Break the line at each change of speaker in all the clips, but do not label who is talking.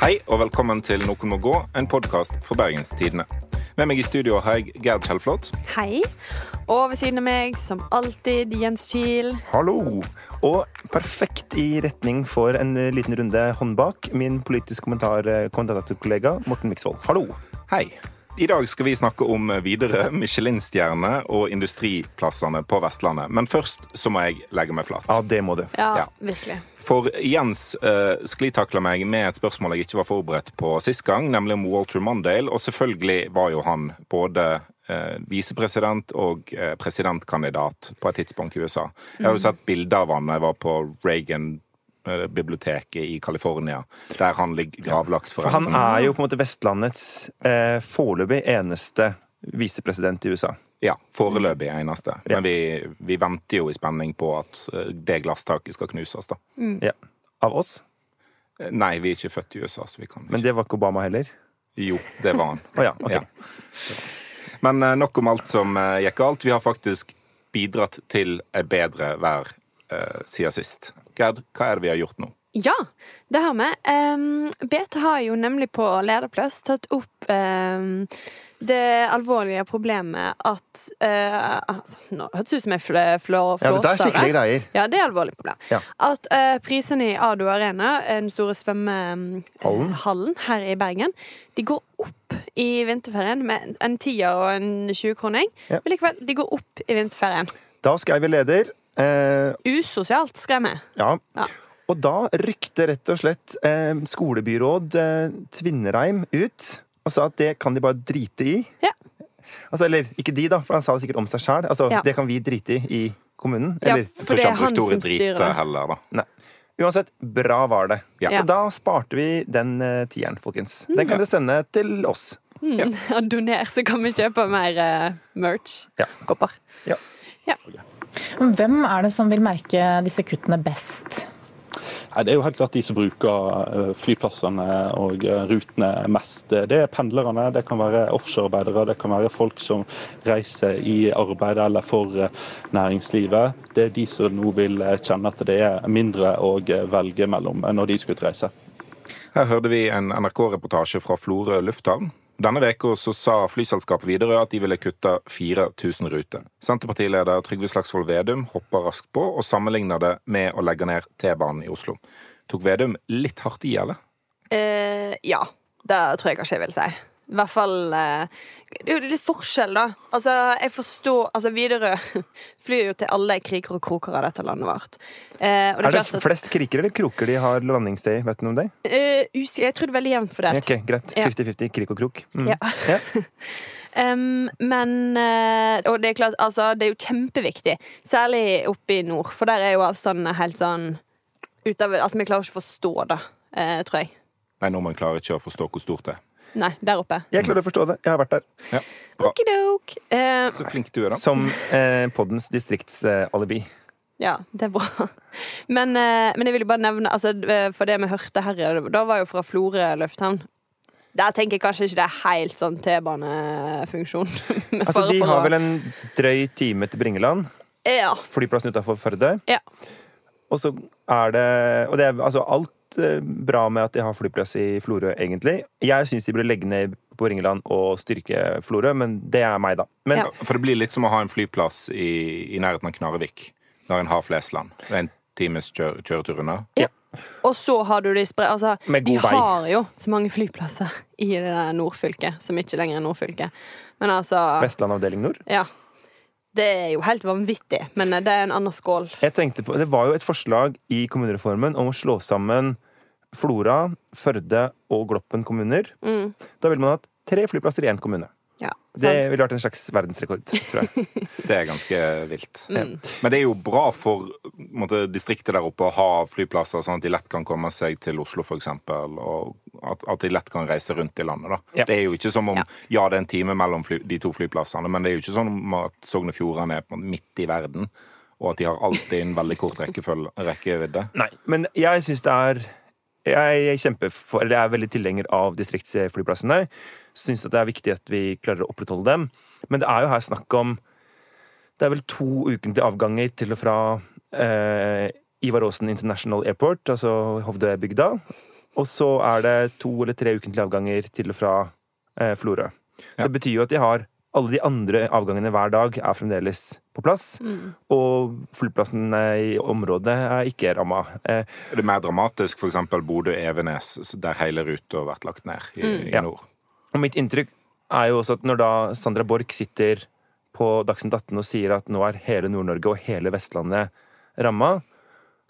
Hei og velkommen til Noen må gå, en podkast for Bergenstidene. Med meg i studio har jeg Gerd Kjellflot.
Hei. Og ved siden av meg, som alltid, Jens Kiel.
Hallo! Og perfekt i retning for en liten runde håndbak, min politisk kommentar- eh, kommentatorkollega Morten Miksvold. Hallo!
Hei. I dag skal vi snakke om videre Michelin-stjerne og industriplassene på Vestlandet. Men først så må jeg legge meg flat.
Ja, det må du.
Ja,
Ja.
virkelig.
For Jens uh, sklitakla meg med et spørsmål jeg ikke var forberedt på sist gang, nemlig om Walter Mondale. Og selvfølgelig var jo han både eh, visepresident og eh, presidentkandidat på et tidspunkt i USA. Jeg har jo sett bilder av han da jeg var på Reagan-biblioteket i California, der han ligger gravlagt,
Han
forresten.
er jo på en måte Vestlandets eh, foreløpig eneste visepresident i USA.
Ja, foreløpig eneste. Men vi, vi venter jo i spenning på at eh, det glasstaket skal knuses, da.
Ja. Av oss.
Eh, Nei, vi er ikke født i USA, så vi kan ikke
Men det var ikke Obama heller.
Jo, det var han.
Å ja, ok.
Men eh, nok om alt som eh, gikk galt. Vi har faktisk bidratt til et bedre vær eh, siden sist. Gerd, hva er det vi har gjort nå?
Ja, det har vi. Um, BT har jo nemlig på lederplass tatt opp ehm, det alvorlige problemet at eh, altså, Nå høres det ut som jeg flå, flå,
Ja, dette er
flåser
skikkelige
her.
greier.
Ja, det er alvorlig problem.
Ja.
At eh, prisene i Ado Arena, eh, den store svømmehallen her i Bergen, de går opp i vinterferien med en tier og en 20-kroning.
Ja.
Men likevel, de går opp i vinterferien.
Da skrev vi leder. Eh,
Usosialt, skrev vi.
ja.
Ja.
Og da rykte rett og slett eh, skolebyråd eh, Tvinnereim ut og sa at det kan de bare drite i.
Ja.
Altså, eller ikke de, da, for han sa det sikkert om seg sjæl. Altså,
Ja.
Det kan vi drite i i kommunen.
Ja,
Eller
Jeg
For
tror
det
ikke han
er
brukte
han som
ordet
styrer
drite
det.
heller, da.
Nei. Uansett, bra var det.
Ja.
Ja.
Så da sparte vi den eh, tieren, folkens.
Mm.
Den kan dere sende til oss.
Og doner, så kan vi kjøpe mer eh, merch.
Ja.
Kopper.
Ja.
Ja.
Men Hvem er det som vil merke disse kuttene best?
Nei, Det er jo helt klart de som bruker eh, flyplassene og eh, rutene mest. Det er pendlerne, det kan være offshorearbeidere, det kan være folk som reiser i arbeid eller for eh, næringslivet. Det er de som nå vil eh, kjenne at det er mindre å eh, velge mellom eh, når de skal ut og reise.
Her hørte vi en NRK-reportasje fra Florø lufthavn. Denne veka så sa flyselskapet Widerøe at de ville kutte 4000 ruter. Senterpartileder Trygve Slagsvold Vedum hoppa raskt på og sammenligna det med å legge ned T-banen i Oslo. Tok Vedum litt hardt i, eller?
Eh, ja. Det tror jeg kanskje jeg vil si. I hvert fall eh, Det er jo litt forskjell, da. Altså, jeg forstår Altså, Widerøe flyr jo til alle kriker og kroker av dette landet vårt. Eh, og det er,
Er det
klart at
flest kriker eller kroker de har landingssted i? Vet du noe om det?
eh, usi- Jeg tror det er veldig jevnt fordelt.
Ok, Greit.
Ja.
50-50 krik og krok. Mm.
Ja. Em, men eh, Og det er klart, altså, det er jo kjempeviktig. Særlig oppe i nord, for der er jo avstandene helt sånn utover, Altså, vi klarer ikke å forstå det, eh, tror jeg.
Nei, nordmenn klarer ikke å forstå hvor stort det er.
Nei, der oppe.
Jeg klarer å forstå det. Jeg har vært der.
Ja, bra.
Okidok. Eh,
Så flink du er, da.
Som eh, poddens distriktsalibi.
ja, det er bra. Men, eh, men jeg ville bare nevne altså, eh, For det vi hørte her, da var jo fra Florø lufthavn. Der tenker jeg kanskje ikke det er helt sånn T-banefunksjon. Med
Altså,
fare
de
for
har
å-
vel en drøy time til Bringeland,
Ja.
flyplassen utafor Førde.
ja.
Og så er det Og det er altså alt eh, bra med at de har flyplass i Florø, egentlig. Jeg syns de burde legge ned på Bringeland og styrke Florø, men det er meg, da. Men
Ja.
For det blir litt som å ha en flyplass i, i nærheten av Knarrevik, når en har Flesland. Det er en times kjør, kjøretur unna.
Ja. Og så har du de spre... Altså,
Med god
de
vei.
har jo så mange flyplasser i det der nordfylket, som ikke lenger er nordfylket. Men altså
Vestland avdeling nord.
Ja. Det er jo helt vanvittig, men eh, det er en annen skål.
Jeg tenkte på, Det var jo et forslag i kommunereformen om å slå sammen Flora, Førde og Gloppen kommuner. Da ville man hatt tre flyplasser i én kommune.
Ja, Mm.
Det
sant?
ville vært en slags verdensrekord, tror jeg.
Det er ganske vilt. Men det er jo bra for på en måte, distriktet der oppe å ha flyplasser, sånn at de lett kan komme seg til Oslo, for eksempel, og at, at de lett kan reise rundt i landet. Da.
Ja.
Det er jo ikke som om
Ja.
ja. det er en time mellom fly, de to flyplassene, men det er jo ikke sånn om at Sogn og Fjordane er på en måte midt i verden, og at de har alltid en veldig kort rekkefølge, rekkevidde.
Nei, men jeg syns det er jeg kjemper for, eller jeg er veldig tilhenger av distriktsflyplassene. Syns at det er viktig at vi klarer å opprettholde dem. Men det er jo her snakk om Det er vel to ukentlige avganger til og fra eh, Ivar Aasen International Airport, altså Hovdøybygda. Og så er det to eller tre ukentlige avganger til og fra eh, Florø. Så
Ja.
Det betyr jo at de har alle de andre avgangene hver dag er fremdeles på plass. Og flyplassen eh, i området er ikke ramma. Eh,
Det er mer dramatisk, f.eks. Bodø-Evenes, så der hele ruta har vært lagt ned i, i
Mm. Ja.
nord.
og mitt inntrykk er jo også at når da Sandra Borch sitter på Dagsnytt 18 og sier at nå er hele Nord-Norge og hele Vestlandet ramma,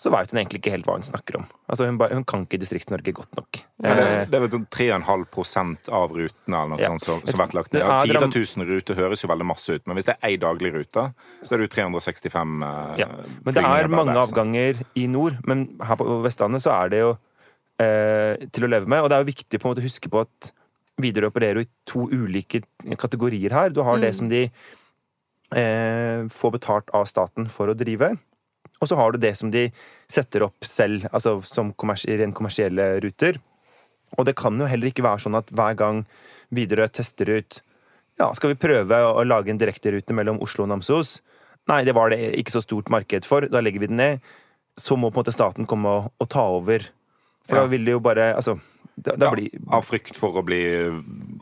så veit hun egentlig ikke helt hva hun snakker om. Altså Hun, bare, hun kan ikke Distrikts-Norge godt nok.
Men det,
Eh,
det er vel sånn 3,5 av rutene eller noe
Ja.
sånt som, som har vært lagt
Det
ned.
er dram-
4000 ruter høres jo veldig masse ut, men hvis det er ei daglig rute, så er det jo 365 eh,
Ja. Men det
flygninger
er
bare
mange
der, sant?
avganger i nord, men her på Vestlandet så er det jo eh, til å leve med. Og det er jo viktig på en måte å huske på at Widerøe opererer jo i to ulike kategorier her. Du har det som de eh, får betalt av staten for å drive. Og så har du det som de setter opp selv, altså som kommers ren kommersielle ruter. Og det kan jo heller ikke være sånn at hver gang Widerøe tester ut ja, skal vi prøve å, å lage en direkterute mellom Oslo og Namsos? Nei, det var det ikke så stort marked for. Da legger vi den ned. Så må på en måte staten komme og, og ta over. For
Ja.
da vil det jo bare Altså, da, da
Ja,
blir
Av frykt for å bli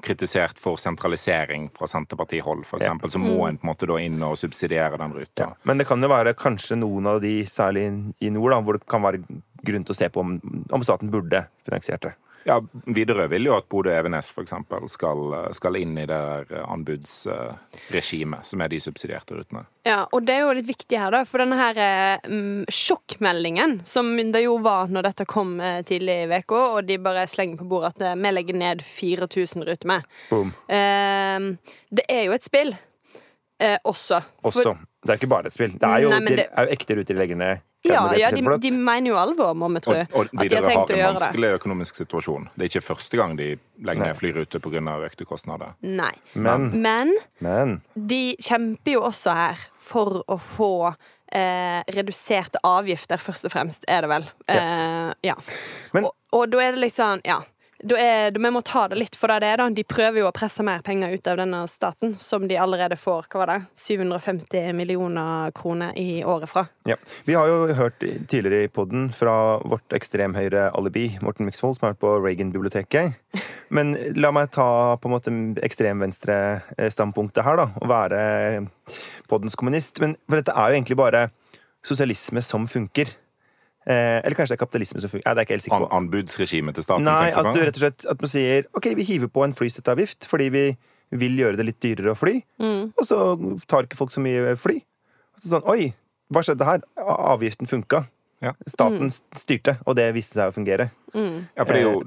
kritisert for sentralisering fra Senterpartihold, f.eks., eksempel så
Mm.
må en på en måte da inn og subsidiere den ruta.
Men det kan jo være kanskje noen av de, særlig i nord, da, hvor det kan være grunn til å se på om, om staten burde finansiert det.
Ja, Widerøe vil jo at Bodø-Evenes for eksempel skal, skal inn i det der eh, anbudsregimet, som er de subsidierte rutene.
Ja, og det er jo litt viktig her, da. For denne her eh, mm, sjokkmeldingen, som det jo var når dette kom eh, tidlig i uka, og de bare slenger på bordet at eh, vi legger ned 4000 ruter med.
Boom.
Eh, det er jo et spill eh, også.
Også.
For-
det er ikke bare et spill. Det er jo,
Nei, men
det...
det-
er jo ekte ruter de legger ned.
ja,
Kan det
ja
rett og
de,
slett flott?
de mener jo alvor, må vi tro.
Og, og
at de har
Widerøe har
tenkt å
en
gjøre det.
vanskelig økonomisk situasjon. Det er ikke første gang de legger ned flyruter pga. økte kostnader.
Nei.
Men,
Men
men
de kjemper jo også her for å få eh, reduserte avgifter, først og fremst, er det vel. Eh, ja.
Men-
og, og da er det liksom Ja. Da er, da- vi må ta det litt for det det er. da De prøver jo å presse mer penger ut av denne staten, som de allerede får hva var det, 750 millioner kroner i året fra.
Ja. Vi har jo hørt tidligere i podden fra vårt ekstremhøyre-alibi, Morten Myksvold, som har vært på Reagan-biblioteket. Men la meg ta på en måte ekstremvenstre-standpunktet her, da, og være poddens kommunist. Men for dette er jo egentlig bare sosialisme som funker. Eh, eller kanskje det er kapitalisme som funker. Nei, det er jeg ikke helt sikker
An
på.
anbudsregimet til staten,
Nei, at
tenker
du
du på?
rett og slett at man sier ok, vi hiver på en flysettavgift fordi vi vil gjøre det litt dyrere å fly.
Mm.
Og så tar ikke folk så mye fly. Og så sånn, Oi, hva skjedde her? A- Avgiften funka.
Ja.
Staten
Mm.
s- styrte, og det viste seg å fungere.
Ja, for det er jo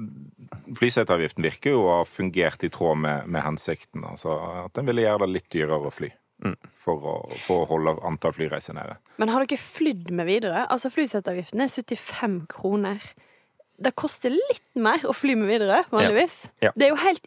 Eh.
Flyseteavgiften virker jo å ha fungert i tråd med, med hensikten. Altså at en ville gjøre det litt dyrere å fly.
Mm.
For å, for å holde antall flyreiser nede.
Men har dere flydd med Widerøe? Altså, flyseteavgiften er 75 kroner. Det koster litt mer å fly med Widerøe, vanligvis.
Ja. Ja.
Det er jo helt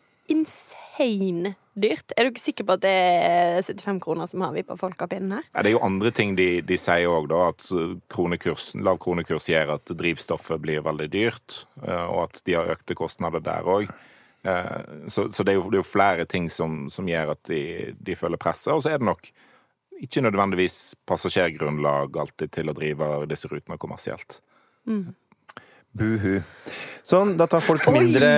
insane dyrt. Er du ikke sikker på at det er 75 kroner som har vippa folk av pinnen her?
Ja, det er jo andre ting de, de sier òg, da. At kronekurs, lav kronekurs gjør at drivstoffet blir veldig dyrt, eh, og at de har økte kostnader der òg. Så, så det, er jo, det er jo flere ting som, som gjør at de, de føler presset. Og så er det nok ikke nødvendigvis passasjergrunnlag alltid til å drive disse rutene kommersielt.
Buhu. Sånn, da tar folk mindre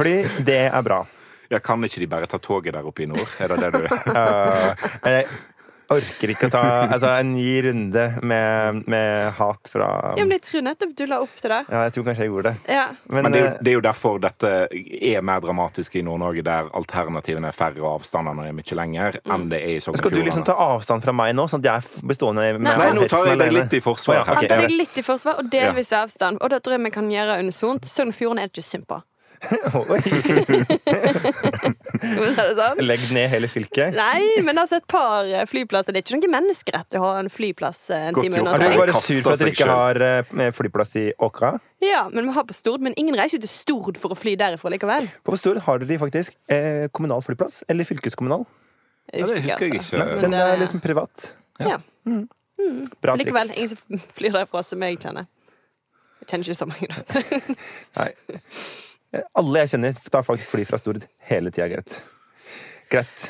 fly. Det er bra.
Ja, Kan ikke de bare ta toget der oppe i nord? Er det det du
Jeg orker ikke å ta altså, en ny runde med, med hat fra
Ja, men jeg tror nettopp du la opp til det.
Ja, jeg tror kanskje jeg gjorde det.
Ja.
Men det er, jo,
eh,
det er jo derfor dette er mer dramatisk i Nord-Norge, der alternativene er færre og avstandene er mye lenger enn det er i Sogn og
Skal du liksom
Fjordane.
ta avstand fra meg nå, sånn at jeg f- blir stående med
nå
Nei,
tar jeg
hetsen
deg
alene?
litt i forsvar
Å
her.
ja, ok,
Han tar
greit.
deg litt i forsvar og delvis avstand, og det tror jeg vi kan gjøre unisont. Sogn og Fjorden er ikke sympa.
Oi.
Skal vi si det sånn?
Legg ned hele fylket.
Nei, men altså et par eh, flyplasser. Det er ikke noen menneskerett å ha en flyplass eh, en
Godt
time
gjort.
unna
Er
Nei,
du
seg.
bare
altså, kaster
sur for at dere
seg
ikke
selv.
har eh, flyplass i Åkra?
Ja, men vi har på Stord, men ingen reiser jo til Stord for å fly derifra likevel.
På Stord har dere faktisk eh, kommunal flyplass, eller fylkeskommunal.
Jeg
Ja, det husker jeg
altså.
ikke.
Men
Den
det-
er liksom privat.
Ja.
Bra
Likevel,
triks.
ingen som flyr derifra som jeg kjenner. Jeg kjenner ikke så mange, da.
Nei. Eh, Alle jeg kjenner, tar faktisk fly fra Stord hele tida, Greit. Greit.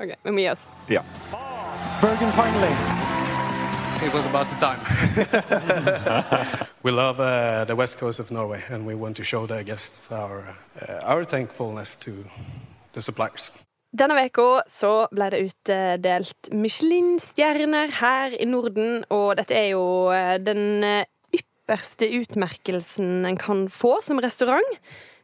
Ok, vi må gi oss.
Ja.
Bergen finally.
it was about the time. we love uh, the west coast of Norway, and we want to show the guests our, uh, our thankfulness to the suppliers.
Denne veka så ble det utdelt Michelin-stjerner her i Norden, og dette er jo eh, den eh, ypperste utmerkelsen en kan få som restaurant.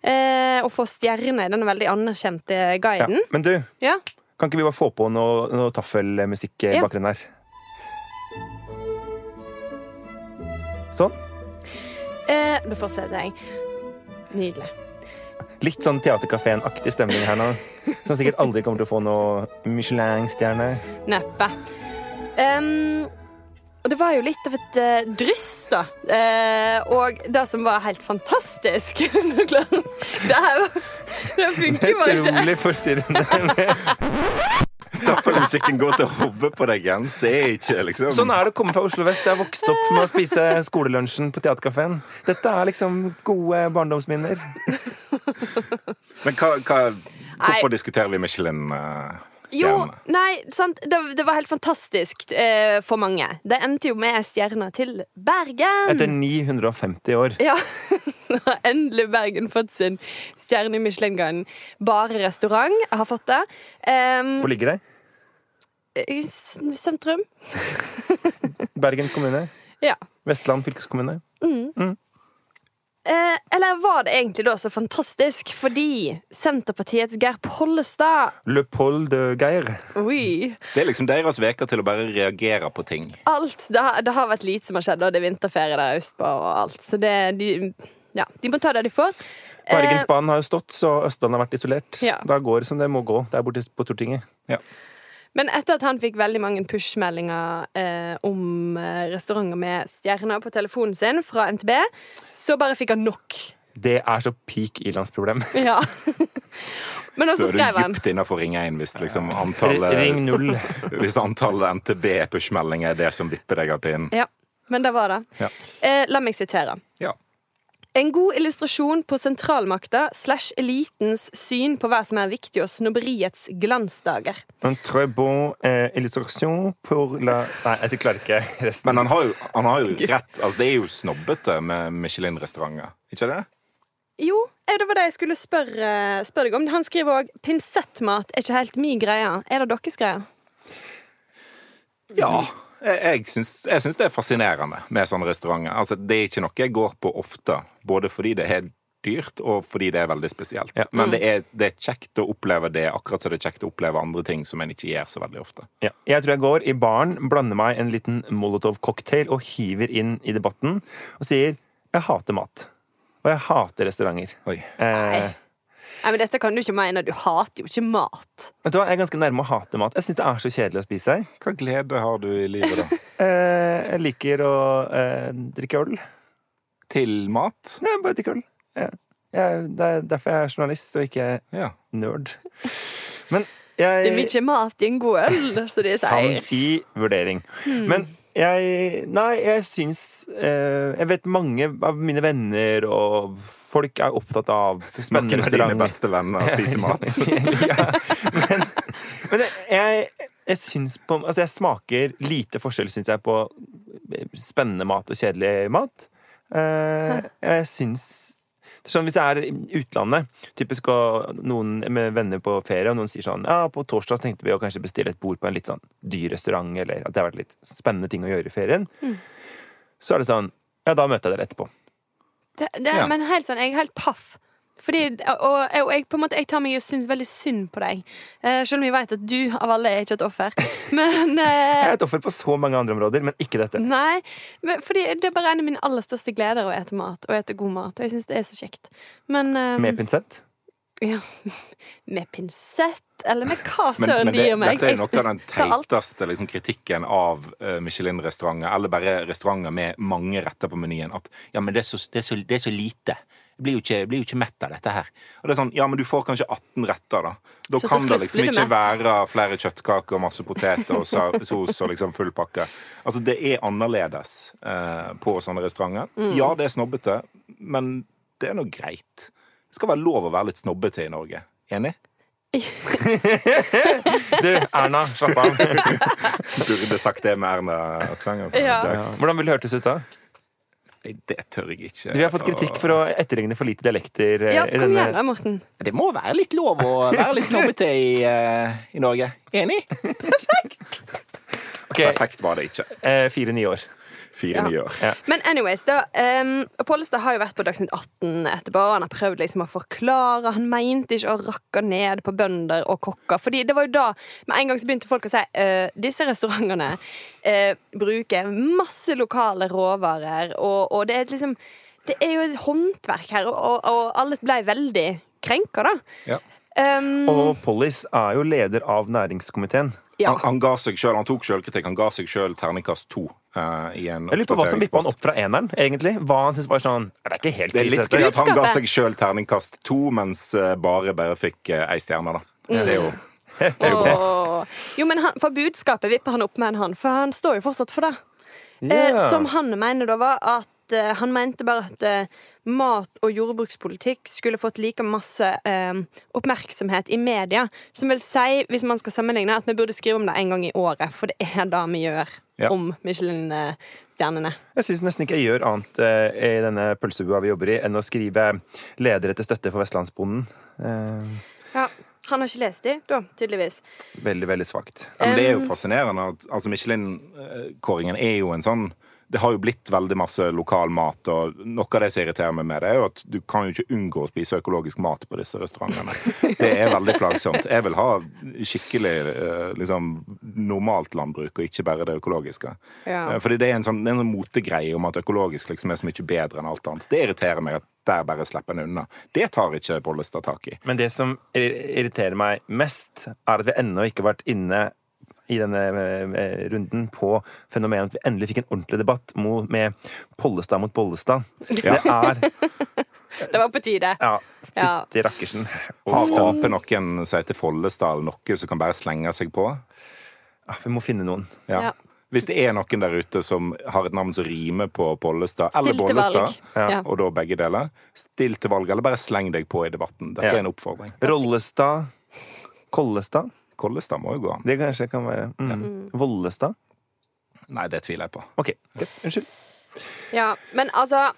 Eh, å få stjerne i den veldig anerkjente
Ja.
guiden.
Men du,
Ja.
kan ikke vi bare få på noe, noe taffelmusikk i
Ja.
bakgrunnen her? Sånn.
Eh, nå fortsetter jeg. Nydelig.
Litt sånn Theatercaféen-aktig stemning her nå. Som sikkert aldri kommer til å få noe Michelin-stjerne.
Neppe. Ehm, og det var jo litt av et eh, dryss, da. Eh, og det som var helt fantastisk Nå klarer- Det her var Det funker jo bare ikke.
Utrolig forstyrrende.
Taffelmusikken går til hodet på deg, Jens. Det er ikke liksom
Sånn er det å komme fra Oslo vest. Jeg har vokst opp med å spise skolelunsjen på Theatercaféen. Dette er liksom gode barndomsminner.
Men hva, hva,
Nei.
hvorfor diskuterer vi
Jo,
Michelin-stjernene?
nei, sant? Det, det var helt fantastisk eh, for mange. Det endte jo med stjerna til Bergen.
Etter 950 år.
Ja, så har endelig Bergen fått sin stjerne i Michelin-guiden. Bare restaurant har fått det. Ehm,
Hvor ligger det?
i s- sentrum.
Bergen kommune?
Ja.
Vestland fylkeskommune?
Eh, eller var det egentlig da så fantastisk fordi Senterpartiets Geir Pollestad
Le Pol de Geir.
Oi.
Det er liksom deres veker til å bare reagere på ting.
Alt, det, har, det har vært lite som har skjedd, og det er vinterferie der østpå og alt. Så det, de, ja, de må ta det de får. Eh,
Bergensbanen har jo stått, så Østlandet har vært isolert.
Ja.
Da går det som det må gå der borte på Stortinget.
Men etter at han fikk veldig mange push-meldinger eh, om eh, restauranter med stjerner på telefonen sin fra NTB, så bare fikk han nok.
Det er så peak ilandsproblem.
Ja. Men
Da
også
er
skrev
du
han
dypt innafor Ring 1 hvis liksom
Ring
antallet
null.
Hvis antallet NTB-pushmeldinger er det som vipper deg av pinnen.
Ja, men det var det.
Ja.
Eh, la meg sitere.
Ja.
En god illustrasjon på sentralmakta slash elitens syn på hva som er viktig og snobberiets glansdager.
En très bon eh, illustration pour la Nei, jeg klarer ikke resten.
Men han har, jo, han har jo rett. Altså, det er jo snobbete med Michelin-restauranter. Ikke det?
Jo, eh, det var det jeg skulle spørre, spørre deg om. Han skriver òg 'pinsettmat er ikke helt mi greie'. Er det deres greie?
Ja. Jeg, jeg, syns, jeg syns det er fascinerende med sånne restauranter. Altså, det er ikke noe jeg går på ofte, både fordi det er dyrt, og fordi det er veldig spesielt. Men det er, det er kjekt å oppleve det, akkurat som det er kjekt å oppleve andre ting som en ikke gjør så veldig ofte.
Ja. Jeg tror jeg går i baren, blander meg en liten Molotov-cocktail og hiver inn i debatten og sier jeg hater mat. Og jeg hater restauranter.
Oi.
Eh,
Nei, men Dette kan du ikke mene. Du hater jo ikke mat.
vet du hva, Jeg er ganske nærme å hate mat. Jeg syns det er så kjedelig å spise.
Hva glede har du i livet, da?
Eh, jeg liker å eh, drikke øl.
Til mat?
Nei, jeg bare drikker øl. Jeg, jeg, det er derfor jeg er journalist og ikke
Ja.
nerd. Men
Det er
jeg
mye mat i en god øl, som de sier.
Eh, Sant i vurdering.
Hmm.
Men jeg Nei, jeg syns eh, Jeg vet mange av mine venner og folk er opptatt av spennende
Noen av dine
restauranter.
beste venner spiser mat.
ja, men, men jeg, jeg syns på Altså, jeg smaker lite forskjell, syns jeg, på spennende mat og kjedelig mat. Eh, jeg syns det er Sånn, hvis jeg er i utlandet, typisk og noen med venner på ferie, og noen sier sånn Ja, på torsdag så tenkte vi å kanskje bestille et bord på en litt sånn dyr restaurant, eller at det har vært litt spennende ting å gjøre i ferien. Så er det sånn Ja, da møter jeg dere etterpå.
Det, det,
Ja.
Men helt sånn, jeg er helt paff. Fordi, og og jeg, på en måte, jeg tar meg og syns veldig synd på deg. Eh, selv om jeg vet at du av alle er ikke et offer. Men eh,
Jeg er et offer på så mange andre områder, men ikke dette.
Nei, men fordi det er bare en av mine aller største gleder å ete mat, og ete god mat. Og jeg syns det er så kjekt. Men eh,
Med pinsett.
ja, med pinsett, eller med hva
Men,
søren
men
de
det,
gir meg.
dette er jo noe av den
Jeg tar alt.
teiteste liksom, kritikken av eh, Michelin-restauranter, eller bare restauranter med mange retter på menyen, at ja, men det er så, det er så, det er så lite. Jeg blir, jo ikke, jeg blir jo ikke mett av dette her. Og det er sånn, Ja, men du får kanskje 18 retter, da. Da
Så til
kan det
slutt
liksom
blir du
ikke
mett.
være flere kjøttkaker og masse poteter og sa- sos og liksom full pakke. Altså, det er annerledes eh, på sånne restauranter.
Mm.
Ja, det er snobbete, men det er nå greit. Det skal være lov å være litt snobbete i Norge. Enig?
Du, Erna, slapp av.
Burde sagt det med Erna-aksent. altså.
Ja.
Det-
Ja. Hvordan ville det hørtes ut da?
Nei, Det tør jeg ikke.
Vi har fått kritikk for å etterligne for lite dialekter. eh,
Ja,
i
kom
denne-
igjen da, Morten.
Det må være litt lov å være litt snobbete i, eh, i Norge. Enig?
Ok,
Perfekt var det ikke.
eh, Fire-ni år.
Fire nye år.
Men anyways, da, ehm, Pollestad har jo vært på Dagsnytt 18 etterpå. og Han har prøvd liksom å forklare. Han mente ikke å rakke ned på bønder og kokker. Fordi det var jo da med en gang så begynte folk å si eh, disse restaurantene eh, bruker masse lokale råvarer. Og, og det er et liksom Det er jo et håndverk her, og, og, og alle ble veldig krenka, da.
Ja.
Ehm,
Og Pollis er jo leder av næringskomiteen.
ja.
Han, han ga seg selv, han tok sjølkritikk. Han ga seg sjøl terningkast to. eh, i en
Jeg lurer på hva som vippa han
oppdateringspost.
opp fra eneren, egentlig. Hva han syntes var sånn Det er ikke helt
Det er litt
krise, dette.
gøy at han ga
Budskapet.
seg sjøl terningkast to, mens eh, Bare bare fikk eh, ei stjerne, da.
Mm.
Det er jo
Åh. Jo, men han, for budskapet vipper han opp med en han, for han står jo fortsatt for det. Eh, som han mener da var at eh, han mente bare at eh, mat- og jordbrukspolitikk skulle fått like masse eh, oppmerksomhet i media. Som vil si, hvis man skal sammenligne, at vi burde skrive om det en gang i året. For det er det vi gjør
Ja.
om Michelin-stjernene.
Jeg syns nesten ikke jeg gjør annet eh, i denne pølsebua vi jobber i, enn å skrive ledere til støtte for vestlandsbonden. Eh,
Ja, han har ikke lest de, da, tydeligvis.
veldig, veldig svakt.
Ja, Men det er jo fascinerende at altså Michelin-kåringen er jo en sånn Det har jo blitt veldig masse lokal mat, og noe av det som irriterer meg med det, er jo at du kan jo ikke unngå å spise økologisk mat på disse restaurantene. Det er veldig plagsomt. Jeg vil ha skikkelig eh, liksom, normalt landbruk, og ikke bare det økologiske.
Ja.
Eh, Fordi det er en sånn, det er en sånn motegreie om at økologisk liksom er så mye bedre enn alt annet. Det irriterer meg at der bare slipper en unna. Det tar ikke Bollestad tak i.
Men det som ir- irriterer meg mest, er at vi ennå ikke har vært inne i denne eh, runden på fenomenet at vi endelig fikk en ordentlig debatt mo- med Pollestad mot Bollestad. Det er
Det var på tide.
Ja,
Ja.
fytti rakkersen.
Har Ap noen som heter Follestad, eller noe som kan bare slenge seg på?
Ja, ah, Vi må finne noen.
Ja.
Ja.
Hvis det er noen der ute som har et navn som rimer på Pollestad eller
Still til valg.
Bollestad,
Ja.
og da begge deler, still til valg, eller bare sleng deg på i debatten. Dette
Ja.
er en oppfordring.
Rollestad. Kollestad.
Kollestad må jo gå an.
Det kanskje kan være. Mm. Vollestad.
Nei, det tviler jeg på.
Ok, greit. Unnskyld.
Ja, men altså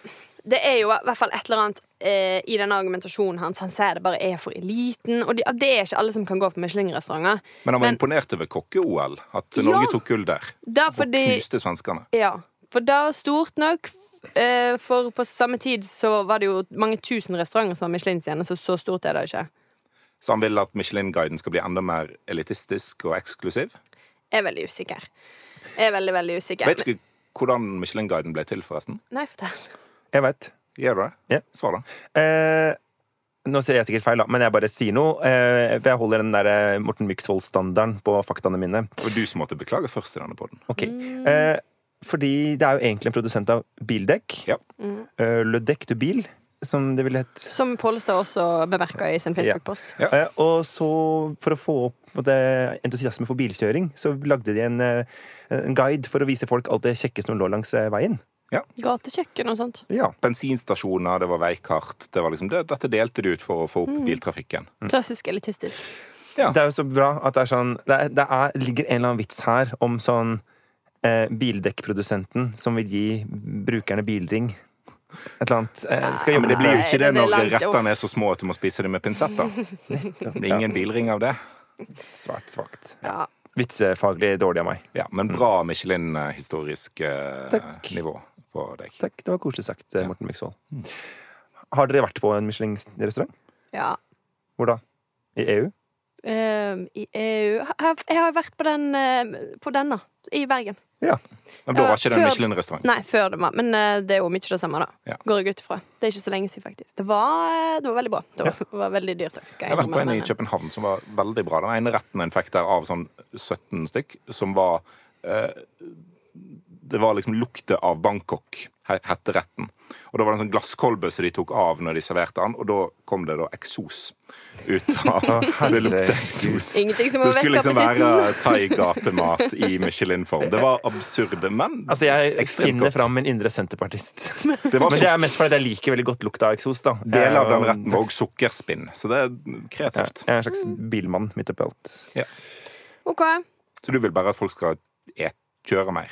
det er jo i hvert fall et eller annet eh, i denne argumentasjonen hans. Han sier det bare er for eliten. Og det, det er ikke alle som kan gå på Michelin-restauranter.
Men han var
Men-
imponert over kokke-OL, at Norge tok gull der.
Da
Og
fordi
knuste svenskene.
Ja, for det var stort nok. f- eh, For på samme tid så var det jo mange tusen restauranter som var Michelin-stjerner, så så stort er det ikke.
Så han vil at Michelin-guiden skal bli enda mer elitistisk og eksklusiv.
Jeg er veldig usikker. Jeg er veldig, veldig usikker.
Vet du hvordan Michelin-guiden ble til, forresten?
Men- Nei, fortell.
Jeg veit.
Gjør du det?
Ja.
Svar, da.
Eh, nå sier jeg sikkert feil, da, men jeg bare sier noe. Eh, for jeg holder den der eh, Morten Myksvold-standarden på faktaene mine.
Det var du som måtte beklage først i denne poden.
Ok.
Mm.
Eh, fordi det er jo egentlig en produsent av bildekk.
Ja.
Eh, Le Dec du Bil, som det ville hett.
Som Pollestad også bemerka i sin Facebook-post.
Ja.
Eh, og så, for å få opp på en måte, entusiasme for bilkjøring, så lagde de en, eh, en guide for å vise folk alt det kjekke som lå langs eh, veien.
Gatekjøkken og sånt.
Ja, bensinstasjoner, det var veikart. Det var liksom det, dette delte de ut for å få opp
Mm.
biltrafikken.
Klassisk elitistisk.
Ja.
Det er jo så bra at det er sånn Det, er, det er, ligger en eller annen vits her om sånn eh, Bildekkprodusenten som vil gi brukerne bilring. Et eller annet. Eh, skal
Ja,
jobbe
men det blir jo ikke det
Nei, det
når
blir langt
rettene er så små at du må spise dem med pinsett. da. Det blir ingen bilring av det.
Svært svakt.
Ja.
Vitsefaglig dårlig av meg.
Ja,
Mm.
Men bra Michelin-historisk eh,
Takk.
nivå på deg.
Takk, det var koselig sagt, eh, Morten Myksvold.
Mm.
Har dere vært på en Michelin-restaurant?
ja.
Hvor da? I E EU?
Ehm, I EU Jeg har- Jeg har vært på den eh, På den da, i Bergen.
Men da
Ja,
var ikke det en
før-
Michelin-restaurant.
Nei, før det var Men eh, det er jo mye det samme, da.
Ja.
Går jeg ut ifra. Det er ikke så lenge siden, faktisk. Det var, eh, det var veldig bra. Det var, var veldig dyrt. da, Skal
Jeg har vært på en i
innrømme, men-
København som var veldig bra. Den ene retten en fikk der av sånn 17 stykk, som var eh, Det var liksom lukta av Bangkok. he- hette retten. Og da var det en sånn glasskolbe som de tok av når de serverte den, og da kom det da eksos ut av Det lukter eksos.
Ingenting som
Så
må
det skulle
vekke
liksom
appetitten.
være thai-gatemat i Michelin-form. Det var absurde, men
Altså, jeg
ekstremt
finner
godt.
fram min indre senterpartist.
Det var
Men det
suk-
er mest fordi jeg liker veldig godt lukta av eksos. da.
Deler av den
Jeg-
retten Mm. var også sukkerspinn, så det er
Ja,
kreativt.
Jeg er en slags bilmann midt oppi alt.
OK.
Så du vil bare at folk skal et, kjøre mer?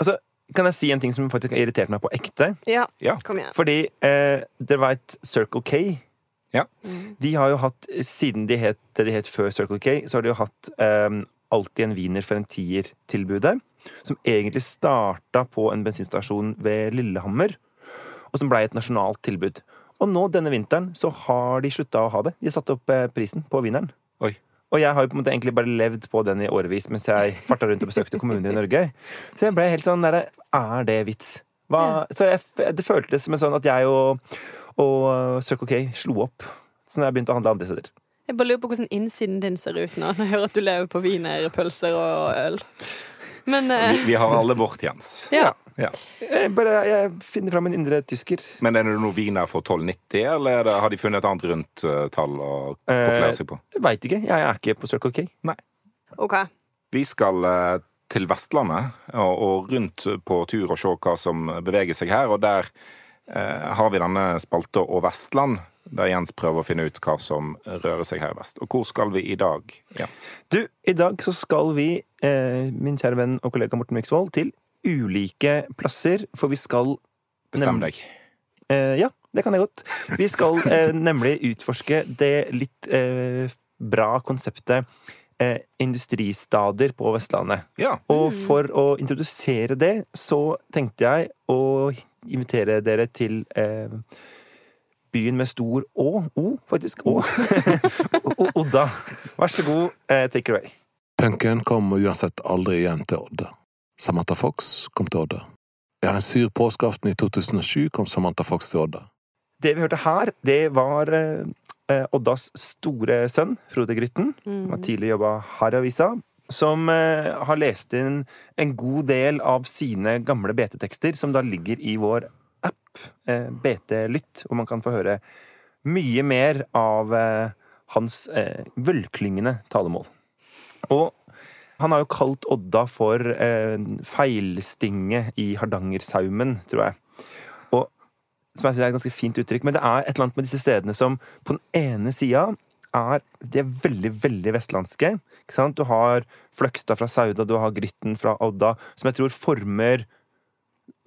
Altså, kan jeg si en ting som faktisk har irritert meg på ekte?
Ja,
Ja.
kom igjen.
Fordi eh, dere veit Circle K.
Ja.
De har jo hatt, siden de het det de het før Circle K, så har de jo hatt eh, alltid en wiener for en tier-tilbudet. Som egentlig starta på en bensinstasjon ved Lillehammer, og som blei et nasjonalt tilbud. Og nå denne vinteren så har de slutta å ha det. De har satt opp eh, prisen på wieneren.
Oi.
Og jeg har jo på en måte egentlig bare levd på den i årevis mens jeg farta rundt og besøkte kommuner i Norge. Så jeg ble helt sånn der, Er det vits? Hva? Så jeg, f- det føltes som en sånn at jeg og, og eh, Circle K slo opp. Så når jeg begynte å handle andre steder.
Jeg bare lurer på hvordan innsiden din ser ut nå. Når jeg hører at du lever på wienerpølser og øl. Men
Vi,
eh,
vi har alle vårt, Jens.
ja.
Ja.
Jeg, bare, jeg finner fram en indre tysker.
Men er det noe wiener for 1290, eller er det, har de funnet et annet rundt eh, tall å profilere seg på?
Veit ikke. Jeg er ikke på Circle K.
OK.
Vi skal eh, til Vestlandet og, og rundt på tur og se hva som beveger seg her. Og der eh, har vi denne spalta Og Vestland, der Jens prøver å finne ut hva som rører seg her i vest. Og hvor skal vi i dag, Jens?
Du, i dag så skal vi, eh, min kjære venn og kollega Morten Myksvold, til ulike plasser, for vi skal
Bestem
Nem-
deg.
Eh, ja, det kan jeg godt. Vi skal eh, nemlig utforske det litt eh, bra konseptet eh, industristader på Vestlandet.
Ja.
Og for å introdusere det, så tenkte jeg å invitere dere til eh, byen med stor Å. O, faktisk. Å. O- Odda. Vær så god, eh, take it away.
Punken kom uansett aldri igjen til Odda. Samantha Fox kom til Odda. Ja, en sur påskeaften i 2007 kom Samantha Fox til Odda.
Det vi hørte her, det var eh, eh, Oddas store sønn, Frode Grytten.
Mm.
Han
Mhm.
har tidlig jobba her i avisa. Som eh, har lest inn en god del av sine gamle BT-tekster, som da ligger i vår app eh, BT Lytt, hvor man kan få høre mye mer av eh, hans eh, vølklingende talemål. Og han har jo kalt Odda for eh, feilstinget i Hardangersaumen, tror jeg som jeg synes er et ganske fint uttrykk, men det er et eller annet med disse stedene som på den ene sida er De er veldig, veldig vestlandske. Ikke sant? Du har Fløgstad fra Sauda, du har Grytten fra Odda, som jeg tror former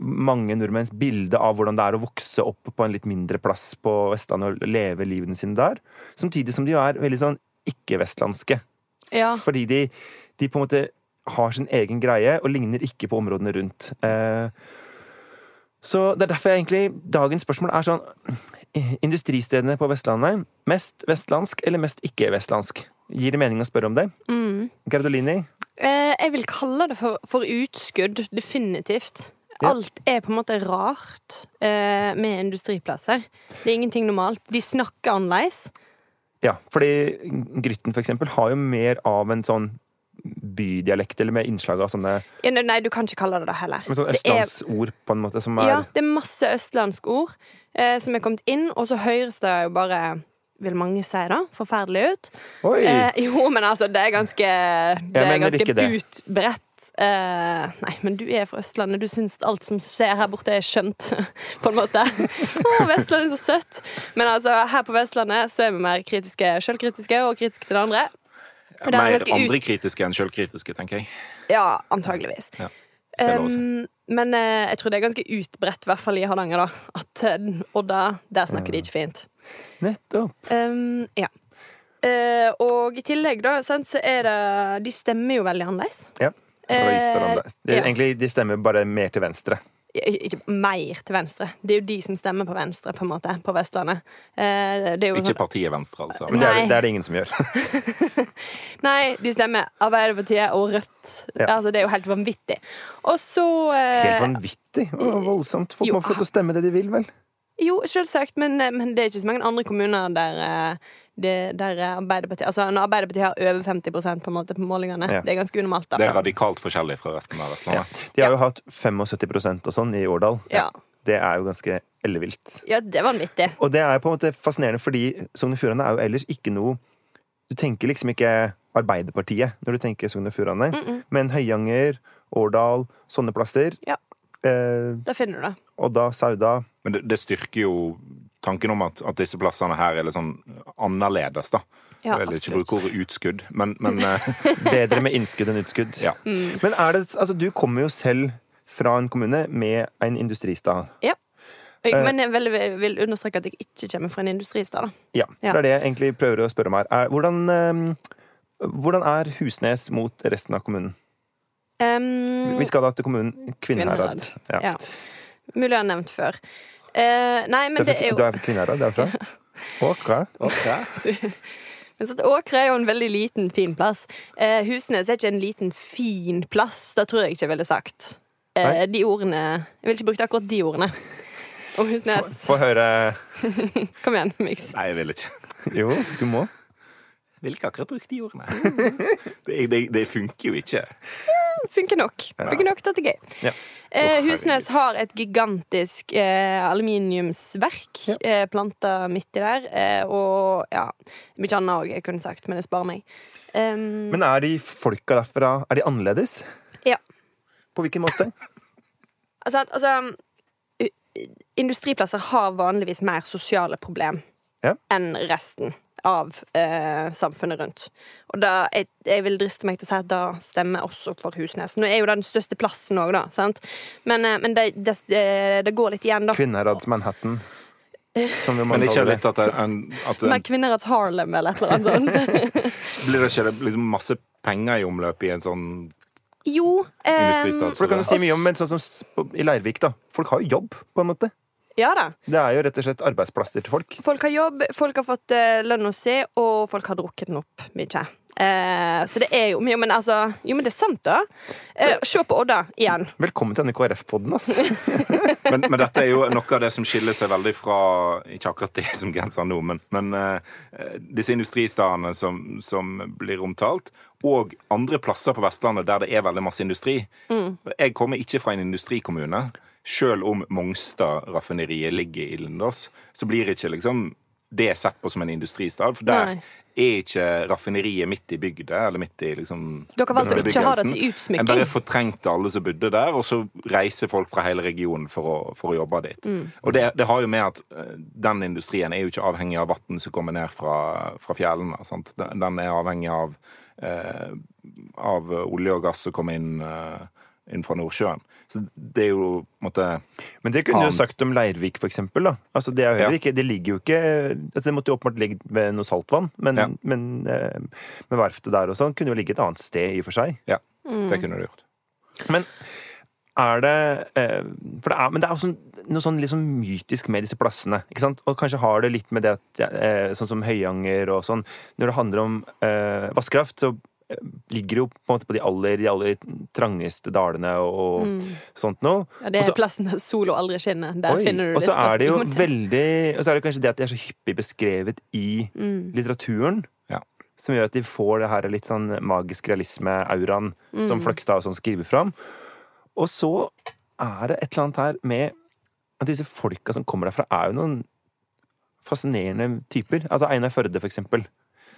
mange nordmenns bilde av hvordan det er å vokse opp på en litt mindre plass på Vestlandet og leve livene sine der. Samtidig som de jo er veldig sånn ikke-vestlandske.
Ja.
Fordi de, de på en måte har sin egen greie og ligner ikke på områdene rundt. Eh, Så det er derfor jeg egentlig Dagens spørsmål er sånn eh, Industristedene på Vestlandet. Mest vestlandsk eller mest ikke-vestlandsk? Gir det mening å spørre om det?
Mm.
Gardolini?
Eh, jeg vil kalle det for, for utskudd, definitivt.
Ja.
Alt er på en måte rart eh, med industriplasser. Det er ingenting normalt. De snakker annerledes.
Ja, fordi Grytten for eksempel har jo mer av en sånn bydialekt, eller med innslag av sånne
Ja, nei, nei, du kan ikke kalle det det heller.
med sånn
Det er-
østlandsord, på en måte, som er
Ja, det er masse østlandske ord eh, som er kommet inn, og så høres det jo bare vil mange si da, forferdelig ut.
Oi!
Eh, jo, men altså, det er ganske, det er
mener
ganske
ikke det.
utbredt. Eh, nei, men du er fra Østlandet. Du syns alt som skjer her borte, er skjønt. På en måte. Å, Vestlandet er så søtt! Men altså, her på Vestlandet så er vi mer kritiske, sjølkritiske og kritiske til det andre. Og det er
Mer
ganske ut-
andre kritiske enn sjølkritiske, tenker jeg.
Ja, antageligvis.
Ja, det er lov å si.
Um, men eh, jeg tror det er ganske utbredt, i hvert fall i Hardanger, da. At eh, Odda, der snakker de ikke fint.
Nettopp.
Um, ja. Eh, og i tillegg, da, sant, så er det De stemmer jo veldig annerledes.
Ja.
Eh,
Det,
ja.
Egentlig, de stemmer bare mer til venstre.
I- Ikke mer til venstre. Det er jo de som stemmer på venstre, på en måte, på Vestlandet. Eh, det er jo
Ikke
sånn-
partiet Venstre, altså.
Men det er,
Nei.
det er det ingen som gjør.
sånn- Nei, de stemmer Arbeiderpartiet og Rødt.
Ja.
Altså, det er jo helt vanvittig. Og så eh,
Helt vanvittig og voldsomt. Folk
Jo,
må få lov til å stemme det de vil, vel?
Jo, selvsagt, men, eh, men det er ikke så mange andre kommuner der, eh, det, der eh, Arbeiderpartiet Altså, når Arbeiderpartiet har over 50 på, en måte, på målingene,
Ja.
det er ganske unormalt, da.
Det er radikalt forskjellig fra resten av Vestlandet.
De har jo hatt 75 og sånn i Årdal.
ja.
Det er jo ganske ellevilt.
Ja, det var vanvittig.
Og det er på en måte fascinerende, fordi Sogn og Fjordane er jo ellers ikke noe Du tenker liksom ikke Arbeiderpartiet når du tenker Sogn og Fjordane, men Høyanger, Årdal, sånne plasser.
Ja.
Eh,
Da finner du det.
Odda, Sauda
Men det, det styrker jo tanken om at, at disse plassene her er litt sånn annerledes, da.
Ja,
jeg vil ikke
absolutt.
bruke ordet utskudd, men, men eh,
Bedre med innskudd enn utskudd.
Ja.
Men er det Altså, du kommer jo selv fra en kommune med en industristad.
Ja. Men jeg vil, vil understreke at jeg ikke kommer fra en industristad. da.
Ja,
Ja.
Det er det jeg egentlig prøver å spørre om her. Er, hvordan, eh, hvordan er Husnes mot resten av kommunen?
Um,
Vi skal da til kommunen Kvinnherad.
Kvinnherad.
Ja.
ja. Mulig jeg har nevnt før. Eh, nei, men
Du
det
er
er
fra-
jo
du er fra Kvinnherad derfra? Ok.
Men sånn, Åkra er jo en veldig liten, fin plass. Eh, Husnes er ikke en liten, fin plass. Det tror jeg ikke jeg ville sagt. Eh,
Nei.
de ordene Jeg ville ikke brukt akkurat de ordene. Om Husnes.
Få høre
Kom igjen, Mix.
Nei, jeg vil ikke.
Jo, du må.
Jeg vil ikke akkurat bruke de ordene. Det, det, det funker jo ikke.
Funker nok. Funker nok til at det er gøy.
Ja.
Eh, Husnes har et gigantisk eh, aluminiumsverk eh, planta midt i der. Eh, og ja, mye annet òg, jeg kunne sagt, men det sparer meg. Um,
Men er de folka derfra Er de annerledes?
ja.
På hvilken måte?
Altså, at- altså u- Industriplasser har vanligvis mer sosiale problem
Ja.
enn resten av eh, samfunnet rundt. Og da, jeg, jeg vil driste meg til å si at da stemmer også for Husnes. Nå er jo det den største plassen òg, da. Sant? Men, eh, men det, det, eh, det går litt igjen, da.
Kvinnherrads Manhattan. Som vi må
Men det er ikke
kalle det.
litt at, det er en, at det er
Men Kvinnerets Harlem eller et eller annet sånt.
en, blir det ikke liksom masse penger i omløp i en sånn
jo. eh,
industristad?
For
som
det kan du
det?
si mye om, men sånn som s- på- i Leirvik, da. Folk har jo jobb, på en måte.
ja da.
Det er jo rett og slett arbeidsplasser til folk.
Folk har jobb, folk har fått eh, lønn å se, og folk har drukket den opp mye. Eh, så det er jo mye, men altså Jo, men det er sant, da. Eh, se på Odda igjen.
Velkommen til denne KrF-podden, ass.
Men, men dette er jo noe av det som skiller seg veldig fra Ikke akkurat det som Gent sa nå, men, men eh, disse industristedene som, som blir omtalt, og andre plasser på Vestlandet der det er veldig masse industri. Jeg kommer ikke fra en industrikommune. Selv om Mongstad-raffineriet ligger i Lindås, så blir ikke liksom det sett på som en industristad. For der
Nei.
er ikke raffineriet midt i bygda, eller midt i liksom
Dere valgte å ikke ha det til
bebyggelsen.
utsmykking.
En bare fortrengte alle som bodde der, og så reiser folk fra hele regionen for å, for å jobbe dit.
Mm.
Og det, det har jo med at eh, den industrien er jo ikke avhengig av vann som kommer ned fra, fra fjellene. Sant? Den, den er avhengig av, eh, av olje og gass som kommer inn, eh, inn fra Nordsjøen. Så det er jo på en måte
Men det kunne du jo
Annen.
sagt om Leirvik, for eksempel. Da. Altså, det, er jo heller
Ja.
ikke, det ligger jo ikke altså, Det måtte jo åpenbart ligge ved noe saltvann, men,
Ja.
men, eh, men verftet der og sånn kunne jo ligge et annet sted i og for seg.
Ja,
Mm.
det kunne du gjort.
Men er det eh, for det er, Men det er jo sånn, noe sånn litt sånn mytisk med disse plassene. Ikke sant? Og kanskje har det litt med det at eh, Sånn som Høyanger og sånn. Når det handler om eh, vannkraft, så eh, ligger det jo på en måte på de aller, de aller trangeste dalene og, og sånt noe.
Mm. Ja, det
Og så-
er plassen der sola aldri skinner. Der
Oi,
finner du
Og så
disse
er det jo
plassene.
veldig Og så er det kanskje det at de er så hyppig beskrevet i
Mm.
litteraturen.
Ja.
Som gjør at de får det her litt sånn magisk realisme-auraen
Mm.
som Fløgstad og sånn skriver fram. Og så er det et eller annet her med at disse folka som kommer derfra, er jo noen fascinerende typer. Altså Einar Førde, for eksempel.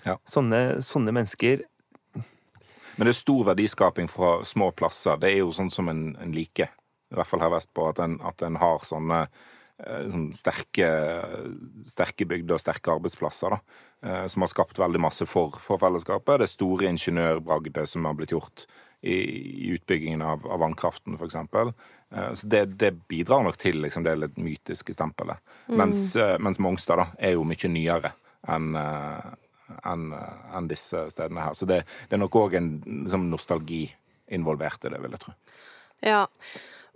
Ja.
Sånne, sånne mennesker
Men det er stor verdiskaping fra små plasser. Det er jo sånn som en, en liker, i hvert fall her vestpå, at en, at en har sånne eh, sånn sterke, sterke bygder og sterke arbeidsplasser da, eh, som har skapt veldig masse for, for fellesskapet. Det er store ingeniørbragder som har blitt gjort i, i utbyggingen av, av vannkraften, f.eks. Så det, det bidrar nok til liksom, det litt mytiske stempelet. Mens, eh, mens Mongstad da, er jo mye nyere enn eh, enn enn disse stedene her. Så det, det er nok òg en liksom, nostalgi involvert i det, vil jeg tro.
Ja.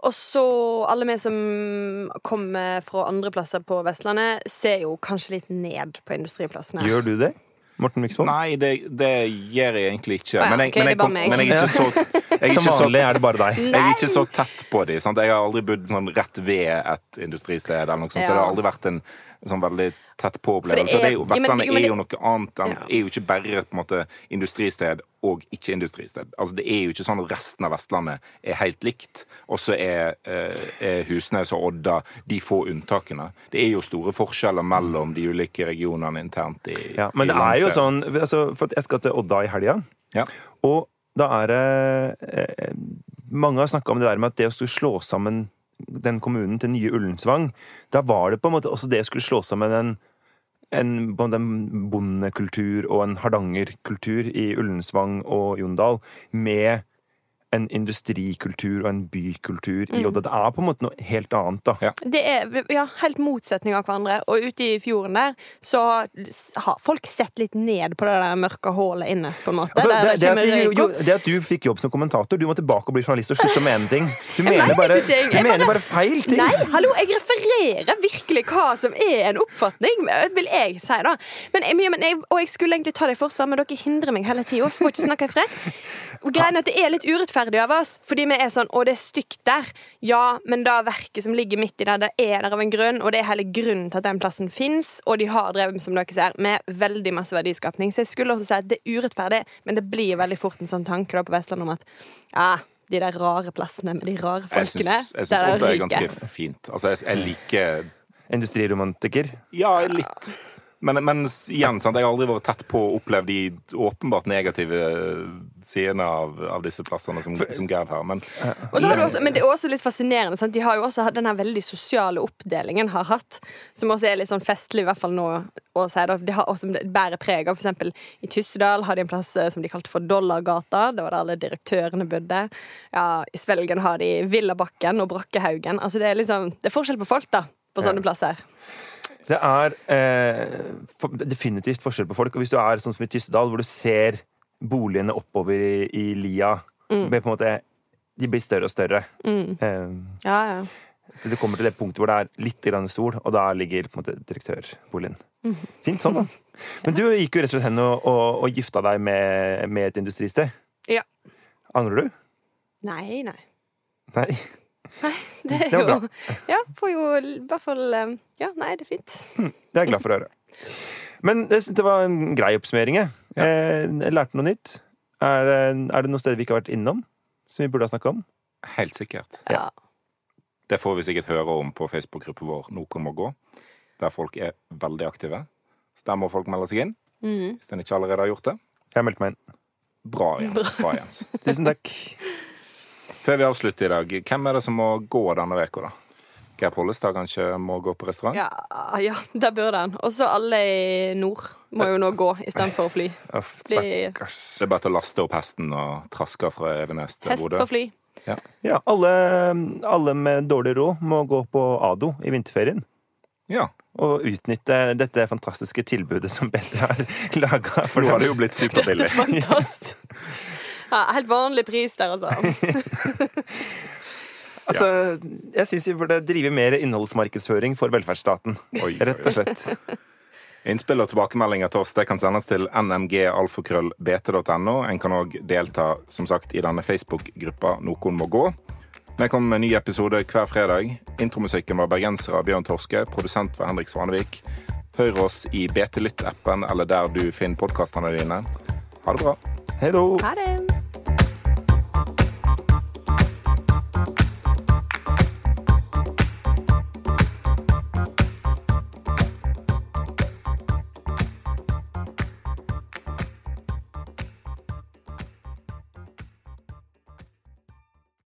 Og så alle vi som kommer fra andre plasser på Vestlandet, ser jo kanskje litt ned på industriplassene.
Gjør du det? Morten Miksvold?
Nei, det, det gjør jeg egentlig ikke.
Å ja,
Men jeg,
ok,
men
det
jeg,
er bare
kom,
meg.
men jeg er ikke så Jeg er
Som
ikke så-
vanlig er det bare deg.
Jeg er ikke så tett på de. Sant? Jeg har aldri bodd sånn rett ved et industristed, eller noe sånt, så det har
Ja.
aldri vært en sånn veldig tett
For det
på-opplevelse.
er-
Jo,
Ja, men-
Vestlandet
jo, men
er
det-
jo noe annet enn
Ja.
er jo ikke bare på en måte industristed og ikke-industristed. Altså, det er jo ikke sånn at resten av Vestlandet er helt likt, og så er, eh, er Husnes og Odda de få unntakene. Det er jo store forskjeller mellom de ulike regionene internt i
Ja, men
i
det er jo
landsdelen.
sånn altså, For jeg skal til Odda i helga.
Ja.
Og da er det eh, Mange har snakka om det der med at det å skulle slå sammen den kommunen til nye Ullensvang Da var det på en måte også det å skulle slå sammen en en, både en bondekultur og en hardangerkultur i Ullensvang og Jondal med en industrikultur og en bykultur i Odda. Det er på en måte noe helt annet, da.
Det er Mm. ja, helt motsetning av hverandre. Og ute i fjorden der så har folk sett litt ned på det der mørke hullet innerst, på en måte.
Altså,
der
det, det,
det
at
kommer
du,
røyk
jo,
opp.
det at du fikk jobb som kommentator Du må tilbake og bli journalist og slutte å mene ting. Du mener
mener
bare,
ikke ting.
du
Jeg
mener
bare-
bare feil ting.
Nei, hallo, jeg refererer virkelig hva som er en oppfatning, vil jeg si da. Men, eh, men jeg, og jeg skulle egentlig ta det i forsvar, men dere hindrer meg hele tida. Får ikke snakke i fred. Og Greien er at det er litt urettferdig av oss, fordi vi er sånn 'Å, det er stygt der'. Ja, men det verket som ligger midt i der, det er der av en grunn, og det er hele grunnen til at den plassen fins, og de har drevet, som dere ser, med veldig masse verdiskapning. Så jeg skulle også si at det er urettferdig, men det blir veldig fort en sånn tanke da på Vestlandet om at ja, de der rare plassene med de rare
Jeg
folkene.
syns jeg syns
der
Odda er
ryker.
ganske fint. Altså, jeg, jeg liker
Industriromantiker.
Ja, litt. Men, men s- igjen, sant? jeg har aldri vært tett på og opplevd de åpenbart negative eh, sidene av, av disse plassene som, som Gerd har. Men
Og så har du også, men det er også litt fascinerende. Sant? De har jo også hatt den her veldig sosiale oppdelingen har hatt, som også er litt sånn festlig, i hvert fall nå. å si det. De har også det bærer preg av for eksempel i Tyssedal har de en plass eh, som de kalte for Dollargata. Det var der alle direktørene bodde. Ja, I Svelgen har de Villabakken og Brakkehaugen. Altså det er liksom, det er forskjell på folk, da. På sånne plasser.
Det er eh, for, definitivt forskjell på folk. Og hvis du er sånn som i Tyssedal, hvor du ser boligene oppover i, i lia det er på en måte, De blir større og større. Eh,
Ja, ja.
til du kommer til det punktet hvor det er litt grann sol, og da ligger på en måte direktørboligen. Fint sånn, da. Men du gikk jo rett og slett hen og, og, og gifta deg med, med et industristed.
Ja.
Angrer du?
Nei, nei.
Nei.
Det er
Det var
jo Ja, får jo i hvert fall eh, Ja, nei, det er fint.
Det er jeg glad for å høre. Men jeg synes det var en grei oppsummering. Jeg, Eh, jeg lærte noe nytt. Er, det- er det noen steder vi ikke har vært innom? Som vi burde ha snakka om?
helt sikkert.
Ja.
Det får vi sikkert høre om på Facebook-gruppen vår Noen må gå, der folk er veldig aktive. Så der må folk melde seg inn,
Mm.
hvis en ikke allerede har gjort det.
Jeg meldte meg inn.
Bra, Jens. Bra, Jens.
Tusen takk.
Før vi avslutter i dag, hvem er det som må gå denne uka, da? Geir Pollestad kanskje må gå på restaurant?
Ja, ja der burde han. Og så alle i nord må jo nå gå istedenfor å fly.
Uff,
Det-
stakkars.
Det er bare til å laste opp hesten og traske fra Evenes til
Hest
Bodø.
for fly.
Ja, alle, alle med dårlig råd må gå på Ado i vinterferien.
Ja.
Og utnytte dette fantastiske tilbudet som Petter har laga. For
For nå har det
dem.
jo blitt superbillig.
Fantastisk. Ja, helt vanlig pris der, altså.
Altså, jeg syns vi burde drive mer innholdsmarkedsføring for velferdsstaten.
Oi, oi, oi.
Rett og slett.
Innspill og tilbakemeldinger til oss det kan sendes til nmgalfakrøllbt.no. En kan òg delta som sagt, i denne Facebook-gruppa Noen må gå. Vi kommer med en ny episode hver fredag. Intromusikken var bergenser av Bjørn Torske. Produsent var Henrik Svanevik. Hør oss i BT Lytt-appen eller der du finner podkastene dine. Ha det bra.
Hei då!
Ha det.